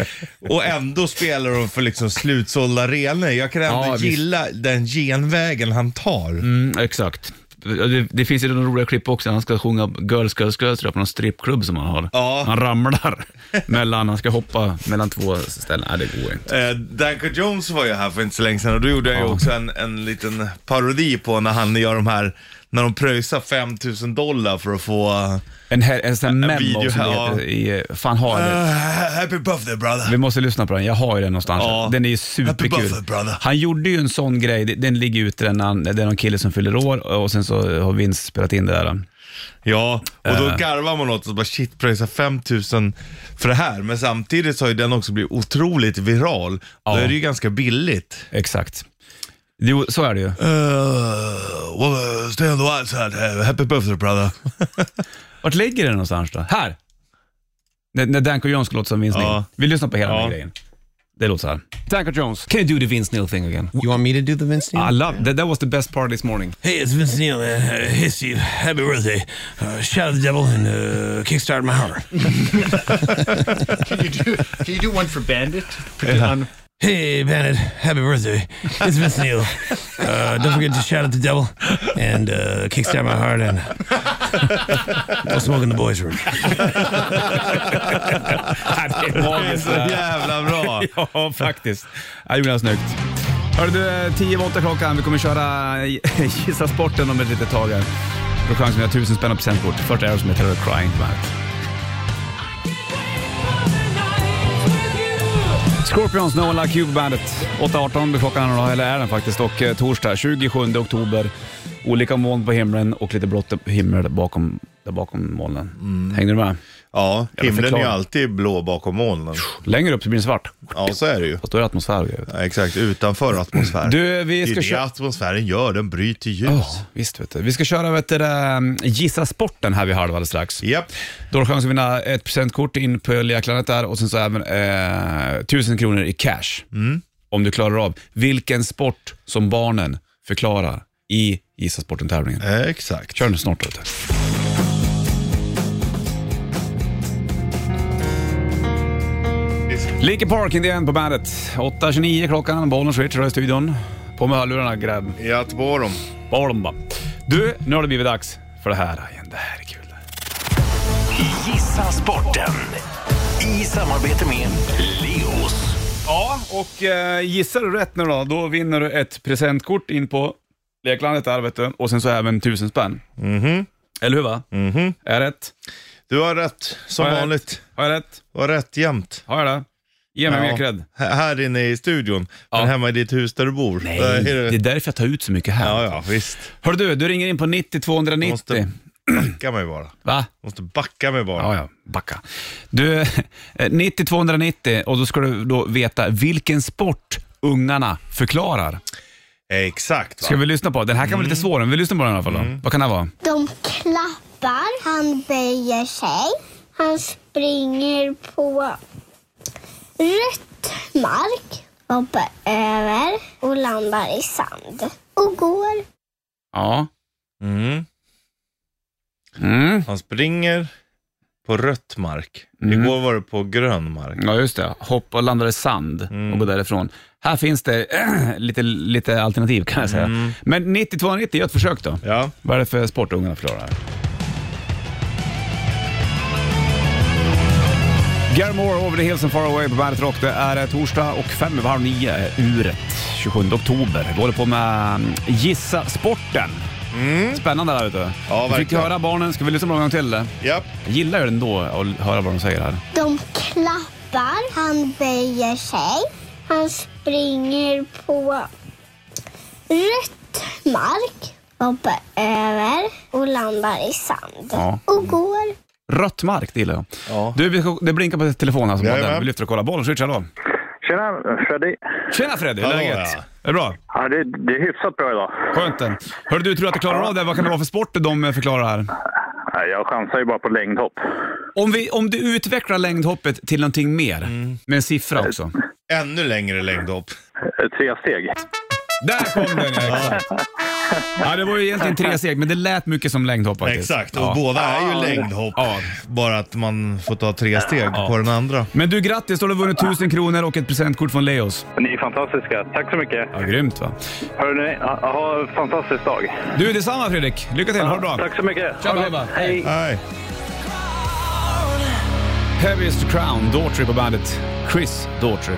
B: Och ändå spelar de för liksom slutsålda arenor. Jag kan ändå
C: Ja, visst.
B: gilla den genvägen han tar.
C: Mm, exakt. Det, det finns ju några roliga klipp också. Han ska sjunga Girls, Girls, Girls tror jag, på någon strippklubb som han har.
B: Ja.
C: Han ramlar mellan, han ska hoppa mellan två ställen. Nej, det går inte.
B: Eh, Danko Jones var ju här för inte så länge sedan och då gjorde jag ju också en, en liten parodi på när han gör de här, när de pröjsar 5000 dollar för att få eh,
C: En, här, en sån här memo
B: video
C: som det
B: här,
C: heter i, fan har det.
B: eh, Happy birthday brother.
C: Vi måste lyssna på den. Jag har ju den någonstans.
B: Ja.
C: Den är ju
B: Happy
C: superkul.
B: birthday, brother.
C: Han gjorde ju en sån grej. Det- Den ligger ute den. när han- Det är någon kille som fyller år och sen så har Vince spelat in det där.
B: Ja, och då
C: Eh.
B: garvar man åt och bara shit pröjsar 5000 för det här. Men samtidigt så har ju den också blivit otroligt viral.
C: Ja.
B: Då är det ju ganska billigt.
C: Exakt. Jo, så är det ju.
B: Uh, well, uh, stay on the wild side. Eh, Happy birthday brother.
C: Vart ligger den någonstans då? Här! När, när Danko Jones låter som Vince
B: Ja.
C: Neil. Vi lyssnar på hela den
B: Ja.
C: grejen. Det låter så här. Tanker Jones, can you do the Vince Neil thing again?
G: You want me to do the Vince Neil?
C: I love that. That was the best part this morning.
G: Hey, it's Vince Neil, man. Uh, hey, Steve. Happy birthday. Uh, shout out the devil and uh, kickstart my heart.
H: Can you do, can you do one for Bandit? Put it on-
G: Hey, Bandit. Happy birthday. It's Vince Neil. Uh, don't forget to shout out the devil and uh, kickstart my heart and go smoke in the boys' room.
C: det är
B: Det är
C: magiskt
B: så
C: det där.
B: jävla bra.
C: Ja, faktiskt. Ja, det blev snyggt. Hörru du, 10 över åtta klockan. Vi kommer köra Gissa Sporten om ett litet tag här. Då chansen att tusen spänn på presentkort. Först Aerosmith, här har du Crying på bandet. Scorpions, No One Like You på bandet. 8.18 blir klockan här nu då, eller är den faktiskt. Och eh, torsdag 27 oktober. Olika moln på himlen och lite blått himmel bakom, där bakom molnen. Hängde du med?
B: Ja, himlen är ju
C: förklara.
B: alltid blå bakom molnen.
C: Längre upp så blir det svart.
B: Ja, så är det ju.
C: Fast då är det atmosfär och grejer, vet du.
B: Ja, exakt, utanför atmosfär.
C: Du, vi
B: det är
C: ska
B: det
C: köra...
B: atmosfären gör, den bryter ljus.
C: Ja, visst vet du. Vi ska köra vet du, det där, Gissa Sporten här vid halv alldeles strax.
B: Japp.
C: Då har du chans att vinna ett presentkort in på Lea där och sen så även eh, 1000 kronor i cash. Om du klarar av vilken sport som barnen förklarar i Gissa Sporten-tävlingen.
B: Eh, Exakt.
C: Kör nu snart vet du. Linkin Park, Indien på bandet. 8.29 klockan, bollen switch i studion. På med hörlurarna grabb.
B: Jag på dem.
C: Bomba. Du, nu har det blivit dags för det här igen. Det här är kul.
F: Gissa sporten. I samarbete med Leos.
C: Ja, och eh, gissar du rätt nu då, då vinner du ett presentkort in på Leklandet där vet du. Och sen så även tusen spänn. Mhm. Eller hur va? Mhm. Är jag rätt?
B: Du har rätt, som
C: Har jag
B: vanligt.
C: Har jag rätt?
B: Du har rätt jämt.
C: Har jag det? Ge mig mer cred.
B: Här här inne i studion,
C: Ja.
B: men hemma i ditt hus där du bor. Där är du-
C: det är därför jag tar ut så mycket här.
B: Ja, ja, visst.
C: Hör du, du ringer in på 90 290.
B: Måste backa mig bara.
C: Va?
B: Måste backa mig bara.
C: Ja, ja, backa. Du, eh, 90 290 och då ska du då veta vilken sport ungarna förklarar.
B: Exakt. Va?
C: Ska vi lyssna på? Den här kan vara lite svår, men vi lyssnar på den i alla fall. Då. Vad kan det här vara?
I: De klappar, han böjer sig, han springer på rött mark, hoppar över och landar i sand och går.
C: Ja.
B: Mm.
C: Mm.
B: Han springer på rött mark. Igår var det på grön mark.
C: Ja, just det. Hopp och landade i sand och gå därifrån. Här finns det lite, lite alternativ kan jag säga. Men 90 290, gör ett försök då.
B: Ja.
C: Vad är det för sport ungarna förklarar? Gary Moore, Over the Hills and Far Away på Bandet Rock. Det är eh, torsdag och fem över halv nio är uret. 27 oktober. Vi håller på med mm, Gissa Sporten. Spännande där ute.
B: Mm. Ja,
C: vi fick
B: verkligen.
C: höra barnen. Ska vi lyssna på en gång till? eller?
B: Japp.
C: Jag gillar ju ändå att höra vad de säger här.
I: De klappar, han böjer sig, han springer på rött mark, hoppar över och landar i sand
C: Ja.
I: och går.
C: Rött mark, det gillar jag.
B: Ja.
C: Du, vi- det blinkar på telefonen här som
B: Jajamän.
C: modell. Vi lyfter och kollar. Bollen switchar då.
E: Tjena Freddy.
C: Tjena Freddy, hur är
B: Hallå,
C: läget?
B: ja.
C: Är det bra?
E: Ja, det, det är hyfsat bra idag.
C: Skönt det. Hörru du, tror du att du klarar av det? Vad kan det vara för sport de förklarar här?
E: Nej, Jag chansar ju bara på längdhopp.
C: Om, vi, om du utvecklar längdhoppet till någonting mer,
B: Mm.
C: med en siffra också.
B: Ännu längre längdhopp.
E: Eh, Tre steg.
C: Där kom den ja, exakt. ja, det var ju egentligen tre steg, men det lät mycket som längdhopp faktiskt.
B: Exakt, och
C: Ja.
B: båda är ju längdhopp.
C: Ja.
B: Bara att man får ta tre steg på den andra.
C: Men du, grattis! Då har du vunnit 1000 kronor och ett presentkort från Leos.
E: Ni är fantastiska. Tack så mycket.
C: Ja, grymt va?
E: Hörrni, ha- ha en fantastisk dag.
C: Du, detsamma Fredrik! Lycka till, ha det bra!
E: Tack så mycket.
C: Tja,
E: Ha det
C: bye,
E: bra.
C: bye.
E: Hej.
B: Nej.
C: Heaviest Crown, Daughtry på bandet. Chris Daughtry.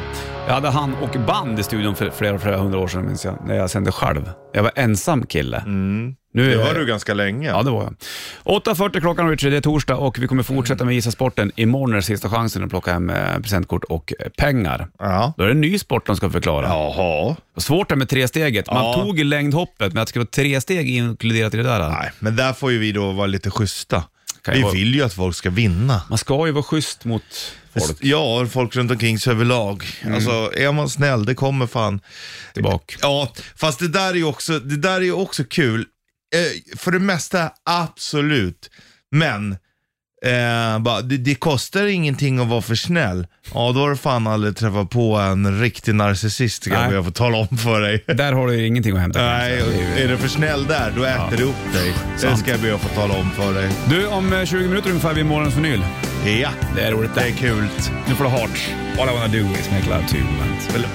C: Jag hade han och band i studion för flera, flera hundra år sedan minns jag, när jag sände själv. Jag var ensam kille. Nu är
B: Mm. Det
C: jag-
B: var du ganska länge.
C: Ja, det var jag. 8.40 klockan Richard, det är torsdag och vi kommer fortsätta med Gissa Sporten. Imorgon är det sista chansen att plocka hem eh, presentkort och eh, pengar.
B: Ja.
C: Då är det en ny sport de ska förklara.
B: Jaha.
C: Svårt det med tresteget. Man
B: Ja.
C: tog längdhoppet, men att det skulle vara tre steg inkluderat i det där.
B: Nej, men där får ju vi då vara lite schyssta.
C: Kan ju
B: vi
C: vara-
B: vill ju att folk ska vinna.
C: Man ska ju vara schysst mot folk. Mm.
B: Ja, folk runt omkring sig överlag. Alltså, är man snäll, det kommer fan.
C: Tillbaka.
B: Ja, fast det där är ju också, det där är ju också kul. Eh, för det mesta, absolut. Men Eh, bara, det, det kostar ingenting att vara för snäll. Ja, då har du fan aldrig träffat på en riktig narcissist kan
C: Nej.
B: jag få tala om för dig.
C: Där har du ju ingenting att hämta. kan jag
B: Nej,
C: säga.
B: och är du för snäll där, då äter du upp dig. Det
C: Sant.
B: ska jag be att få tala om för dig.
C: Du, om eh, 20 minuter ungefär vid morgonens vinyl.
B: Ja,
C: Det är roligt.
B: det är kul.
C: Nu får du Heart. All I wanna do is make love to you. man. Eller-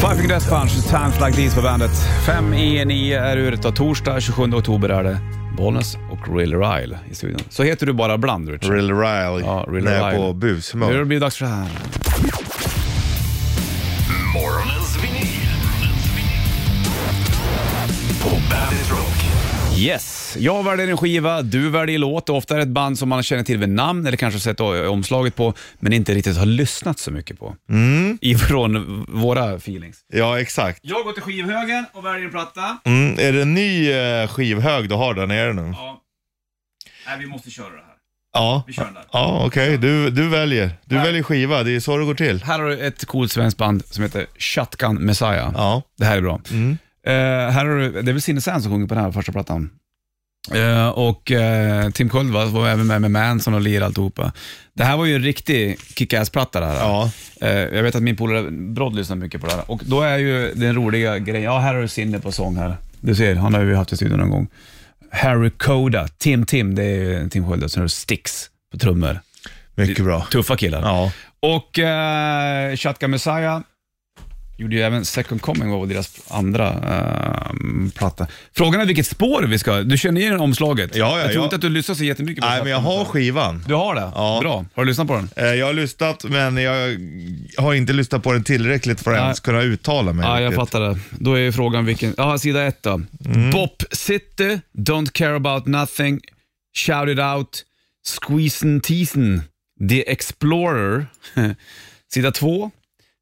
C: Five Finger Death Punch, Times Like These på bandet. Fem i nio är uret och torsdag 27 oktober är det Bollnäs och Real Ryle i studion. Så heter du bara ibland, Rich.
B: Real Riley,
C: Ja, Real
B: när jag är på
C: Riley. Nu har det
B: bushumör.
C: blivit dags för det här.
F: Morgonens vinyl. På Bandit Rock.
C: Yes! Jag väljer en skiva, du väljer låt. Ofta är det ett band som man känner till vid namn eller kanske sett o- omslaget på, men inte riktigt har lyssnat så mycket på.
B: Mm.
C: Ifrån våra feelings.
B: Ja, exakt.
C: Jag går till skivhögen och väljer en platta.
B: Mm, är det en ny eh, skivhög du har där nere nu?
C: Ja. Nej, vi måste köra det här.
B: Ja.
C: kör den där.
B: Ja, okej. Du, du väljer. Du väljer skiva. Det är så det går till.
C: Här har du ett coolt svenskt band som heter Shotgun Messiah.
B: Ja.
C: Det här är bra.
B: Mm.
C: Eh, här har du, det är väl Sinne Sand som sjunger på den här första plattan. Eh, och eh, Tim Sköld va, var även med med Manson och Lir alltihopa. Det här var ju en riktig kick-ass-platta det här.
B: Ja.
C: Eh, jag vet att min polare Brodd lyssnar mycket på det här. Och då är ju den roliga grejen, ja här har du Sinne på sång här. Du ser, han har ju haft i studion någon gång. Harry Coda, Tim Tim, det är ju Tim Sköld. och Sen har du Sticks på trummor.
B: Mycket bra.
C: Tuffa killar.
B: Ja.
C: Och eh, Shotgun Messiah gjorde ju även Second Coming, var väl deras andra eh, platta. Frågan är vilket spår vi ska... Du känner igen omslaget?
B: Ja, ja,
C: jag tror
B: ja.
C: inte att du lyssnar så jättemycket på
B: Nej,
C: Shotgun
B: men jag har
C: Messiah.
B: skivan.
C: Du har det?
B: Ja.
C: Bra. Har du lyssnat på den?
B: Eh, Jag har lyssnat, men jag har inte lyssnat på den tillräckligt för att
C: Nej.
B: ens kunna uttala mig.
C: Ja, jag
B: riktigt.
C: fattar det. Då är ju frågan vilken... Ja, sida ett då. Bop City, Don't Care About Nothing, Shout It Out, Squeezin' Teasin, The Explorer. sida två,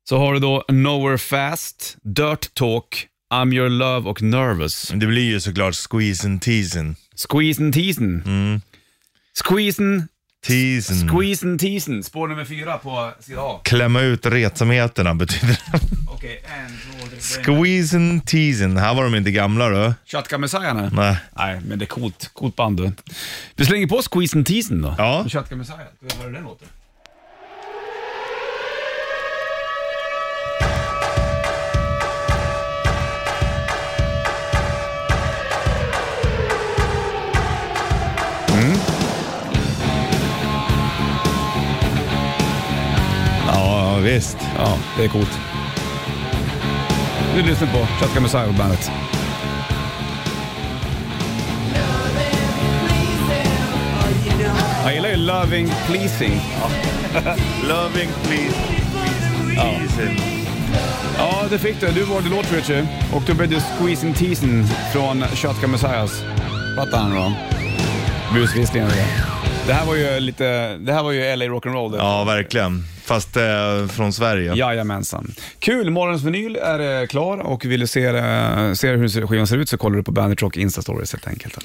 C: så har du då Nowhere Fast, Dirt Talk, I'm Your Love och Nervous.
B: Det blir ju såklart squeeze and teasen.
C: Squeezin' Teasin. Squeezin',
B: Teasen.
C: Squeezin' Teasin. Spår nummer fyra på sida A.
B: Klämma ut retsamheterna betyder det.
C: Okej, en, två, tre, fyra.
B: Squeeze and teasen. Här var de inte gamla då.
C: Shotgun Messiah nu.
B: Nej.
C: Nej, men det är coolt. Coolt band du. Vi slänger på Squeeze and Teasen då.
B: Ja.
C: Shotgun Messiah. Ska vi höra hur den låter?
B: Mm. Ja, visst.
C: Ja, det är coolt. Du lyssnar på Shotgun Messiah och bandet. Jag gillar ju Loving Pleasing.
B: Loving please. Teasen.
C: Ja, det fick du. Du valde låt, Richie. Och då blev det Squeeze and Teasen från Shotgun Messiahs. Fattar han då? Bruce Wissling och det. Det här var ju lite... Det här var ju LA Rock'n'Roll. det.
B: Ja, verkligen. Fast eh, från Sverige.
C: Jajamensan. Kul, morgonens vinyl är eh, klar och vill du se, eh, se hur skivan ser ut så kollar du på Bandit Rock Insta-stories helt enkelt.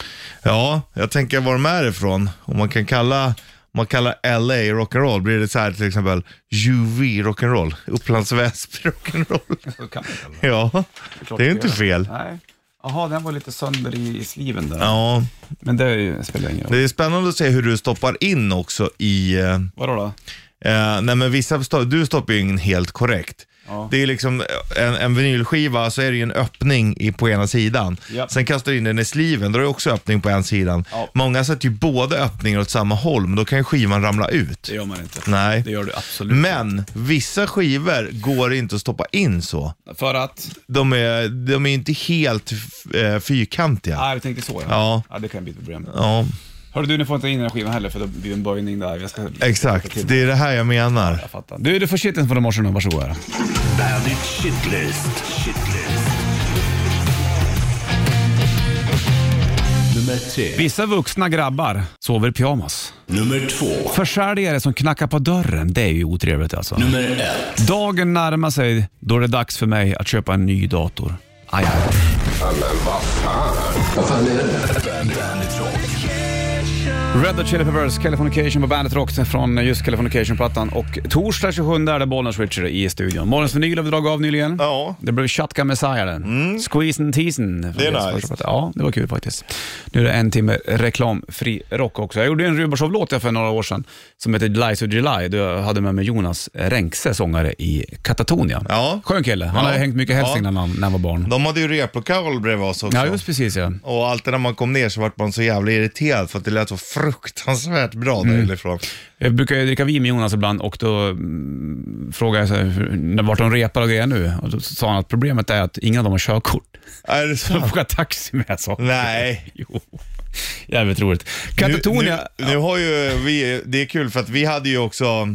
B: Ja, jag tänker var de är ifrån. Om man kan kalla, om man kallar LA rock'n'roll, blir det så här till exempel UV rock'n'roll? Upplands Väsby rock'n'roll? Ja, det är ju inte fel.
C: Nej. Jaha, den var lite sönder i, i sliven där.
B: Ja,
C: Men det är ju- spelar ingen roll.
B: det är spännande att se hur du stoppar in också i... eh,
C: Vadå då?
B: Eh, nej men vissa, sta- du stoppar ju in helt korrekt.
C: Ja.
B: Det är liksom eh, en, en vinylskiva så är det ju en öppning i, på ena sidan.
C: Japp.
B: Sen kastar du in den i sliven, då är det också öppning på en sidan.
C: Ja.
B: Många sätter ju båda öppningar åt samma håll, men då kan ju skivan ramla ut.
C: Det gör man inte.
B: Nej.
C: Det gör du absolut
B: Men vissa skivor går inte att stoppa in så.
C: För att?
B: De är, de är inte helt f- eh, fyrkantiga.
C: Nej, jag tänkte så ja.
B: Ja.
C: det kan bli ett problem.
B: Ja,
C: Hörru du, nu får jag inte in den här skivan heller för då blir det en böjning där. Jag ska...
B: exakt. Det är det här jag menar.
C: Jag fattar. Du, du får shitlisten från morse nu. Varsågod. Här.
F: Bandit Shitlist. Shitlist. Nummer tre.
C: Vissa vuxna grabbar sover i pyjamas.
F: Nummer två.
C: Försäljare som knackar på dörren, det är ju otrevligt alltså.
F: Nummer ett.
C: Dagen närmar sig då det är dags för mig att köpa en ny dator. Aj, aj.
F: Bandit Rock.
C: Red Hot Chili Peppers, Californication på Bandet Rock från just Californication-plattan. Och torsdag 27 är det Bollnäs Richard i studion. Morgons vinyl har vi dragit av nyligen.
B: Ja. Mm.
C: Det blev Shotgun Messiah den. Squeeze and teasen.
B: Det är nice.
C: Ja, det var kul faktiskt. Nu är det en timme reklamfri rock också. Jag gjorde en Rubershow-låt där för några år sedan som heter Lies of July. Då jag hade med mig Jonas Renkse, sångare i Katatonia.
B: Ja.
C: Skön kille. Han
B: Ja.
C: har ju hängt mycket i Hälsingland
B: Ja.
C: när, han- när han var barn.
B: De hade ju replokal bredvid oss också.
C: Ja, just precis ja.
B: Och alltid när man kom ner så vart man så jävla irriterad för att det lät så fruktansvärt bra
C: Mm.
B: därifrån.
C: Jag brukar ju dricka vin med Jonas ibland och då mm, frågar jag så här, hur- vart de repar och grejer nu. Och då sa han att problemet är att ingen av dem har körkort.
B: Är det
C: Så de
B: så?
C: får åka taxi med så.
B: Nej.
C: Jo. Jävligt roligt.
B: Nu,
C: Katatonia.
B: nu, nu har ju vi, det är kul för att vi hade ju också,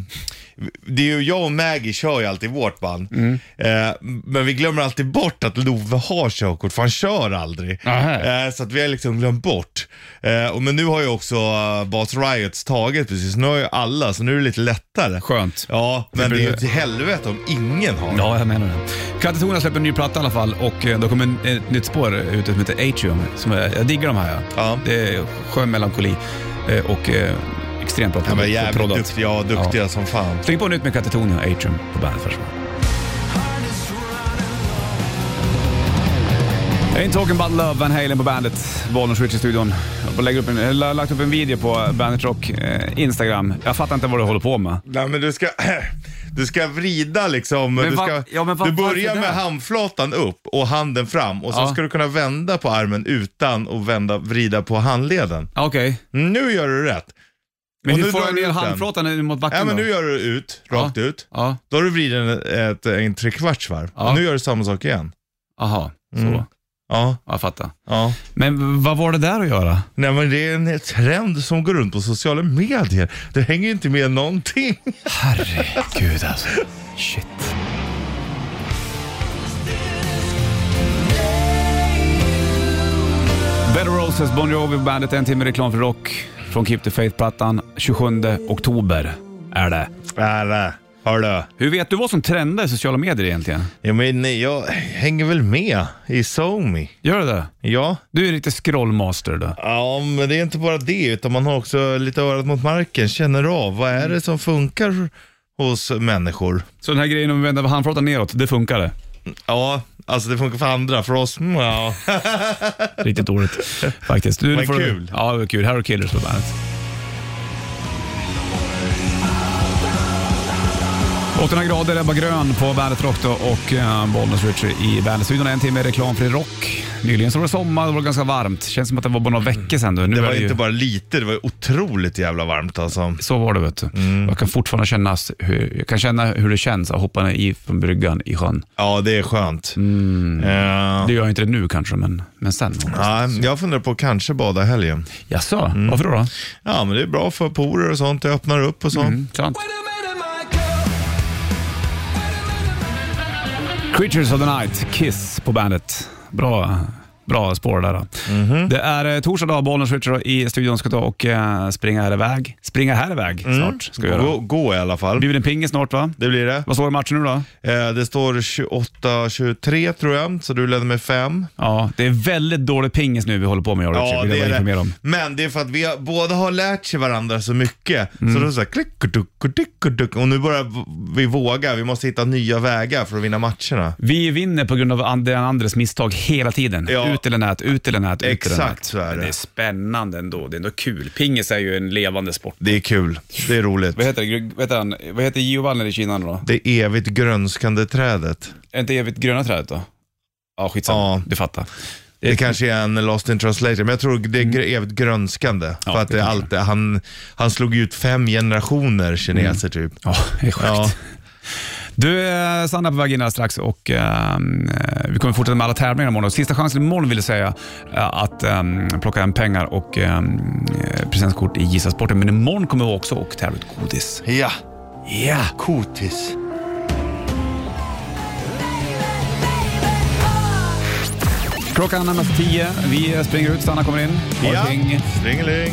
B: det är ju jag och Maggie kör ju alltid vårt band.
C: Mm.
B: Eh, men vi glömmer alltid bort att Love har körkort för han kör aldrig.
C: Aha.
B: Eh, så att vi har liksom glömt bort. Eh, och, men nu har ju också eh, Bas Riots tagit precis, nu har ju alla så nu är det lite lättare.
C: Skönt.
B: Ja, men det
C: Det blir-
B: är ju till helvete om ingen har.
C: Ja, jag menar det. Katatonia släpper en ny platta i alla fall och eh, då kommer en- ett nytt spår ute som heter Atrium. Som jag, jag diggar de här.
B: Ja.
C: Det är skön melankoli eh, och eh, extremt bra
B: Ja, men
C: produkt-
B: jävligt
C: produkt.
B: duktiga, ja, duktiga som fan.
C: Släng på nytt med Katatonia och Atrium på bandet först. Ain't talking about love, Van Halen på bandet. Bollnäs Switch i studion. Jag lägger upp en, jag har lagt upp en video på Bandet Rock eh, Instagram. Jag fattar inte vad du håller på med.
B: Nej men du ska, du ska vrida liksom.
C: Men
B: du,
C: va-
B: ska,
C: ja, men va-
B: du
C: varför
B: börjar
C: det?
B: med handflatan upp och handen fram och så
C: Ja.
B: ska du kunna vända på armen utan att vända, vrida på handleden.
C: Okej,
B: Nu gör du rätt.
C: men
B: Och
C: hur
B: nu
C: får
B: drar
C: jag
B: du
C: ner
B: ut den.
C: handflatan nu mot backen
B: Ja men
C: då?
B: nu gör du ut, rakt
C: Ja.
B: ut.
C: Ja,
B: Då har du vridit en, ett, en trekvarts varv.
C: Ja.
B: Och Nu gör du samma sak igen.
C: aha. Så.
B: Mm. Ja,
C: Ja, jag fattar.
B: ja.
C: Men vad var det där att göra?
B: Nej men det är en trend som går runt på sociala medier. Det hänger ju inte med någonting.
C: Herregud alltså. Shit. Better Roses, Bon Jovi på bandet. En timme reklam för rock från Keep the Faith-plattan. 27 oktober är det.
B: Ära, hördu.
C: Hur vet du vad som trendar i sociala medier egentligen?
B: Ja, men jag hänger väl med i SoMe.
C: Gör du det?
B: Ja.
C: Du är lite scrollmaster du.
B: Ja, men det är inte bara det, utan man har också lite örat mot marken, känner av vad är det som funkar hos människor.
C: Så den här grejen om att vända handflatan neråt, det funkar det?
B: Ja, alltså det funkar för andra, för oss, mm, ja.
C: Riktigt dåligt faktiskt. Du, nu
B: Men
C: får du-
B: kul.
C: Ja, det var kul. Här har Killers på bandet. 800 grader, Ebba Grön på Bandet Rock då och eh, Bollnäs Richie i Bandetstudion. En timme reklamfri rock. Nyligen så var det sommar, det var ganska varmt. Känns som att det var bara några veckor sedan. Då. Nu
B: Mm. Det
C: är
B: var
C: ju-
B: inte bara lite, det var ju otroligt jävla varmt alltså.
C: Så var det vet du.
B: Mm.
C: Jag kan fortfarande känna hur, jag kan känna hur det känns att hoppa ner i från bryggan i sjön.
B: Ja, det är skönt. Eh,
C: Det gör jag inte det nu kanske, men, men sen.
B: ja, Mm. jag funderar på att kanske bada i helgen.
C: Jaså, varför då? då?
B: Ja, men det är bra för porer och sånt, det öppnar upp och så.
C: Mm, sant. Creatures of the Night, Kiss på bandet. Bra, bra spår där. då.
B: Mhm.
C: Det är eh, torsdag dag, Bollnäs Richard i studion ska ta och eh, springa här iväg. Springa här iväg
B: Mm.
C: snart. Ska vi
B: Gå,
C: göra.
B: gå i alla fall.
C: Blir det en pingis snart va?
B: Det blir det.
C: Vad står det i matchen nu då?
B: Eh, det står 28-23 tror jag, så du leder med fem.
C: Ja, det är väldigt dålig pingis nu vi håller på med, jag och Richard.
B: Ja,
C: Vill
B: det
C: jag
B: är
C: bara informera
B: det.
C: om.
B: Men det är för att vi har, båda har lärt sig varandra så mycket. Så
C: Mm.
B: då är det så här, klick och duck och dick och duck. Och nu börjar v- vi våga. Vi måste hitta nya vägar för att vinna matcherna.
C: Vi vinner på grund av an- den andres misstag hela tiden.
B: Ja.
C: Ut eller nät, ut eller nät, ut eller
B: Exakt
C: nät.
B: så är
C: Men
B: det.
C: Det är spännande ändå. Det är ändå kul. Pingis är ju en levande sport.
B: Det är kul. Det är roligt.
C: Vad heter, det? Gr- vad heter han? Vad heter Giovanni i Kina nu då?
B: Det evigt grönskande trädet.
C: Är inte evigt gröna trädet då? Ja, skitsamma.
B: Ja.
C: Du fattar.
B: Det, kanske är en lost in translation, men jag tror det är gr- evigt grönskande. för att
C: Mm. det
B: det är
C: kanske
B: allt, han, han slog ut fem generationer kineser typ.
C: Ja, det är sjukt.
B: Ja.
C: Du, eh, Sanna på väg in här strax och ehm, eh, vi kommer fortsätta med alla tävlingar imorgon. Sista chansen imorgon vill jag säga eh, att ehm, plocka hem pengar och ehm, eh, presentkort i Gissa Sporten. Men imorgon kommer vi också och tävla ut godis.
B: Ja.
C: Ja!
B: Kotis.
C: Klockan närmar sig tio. Vi springer ut, Sanna kommer in.
B: Ja.
C: Allting.
B: Stringeling.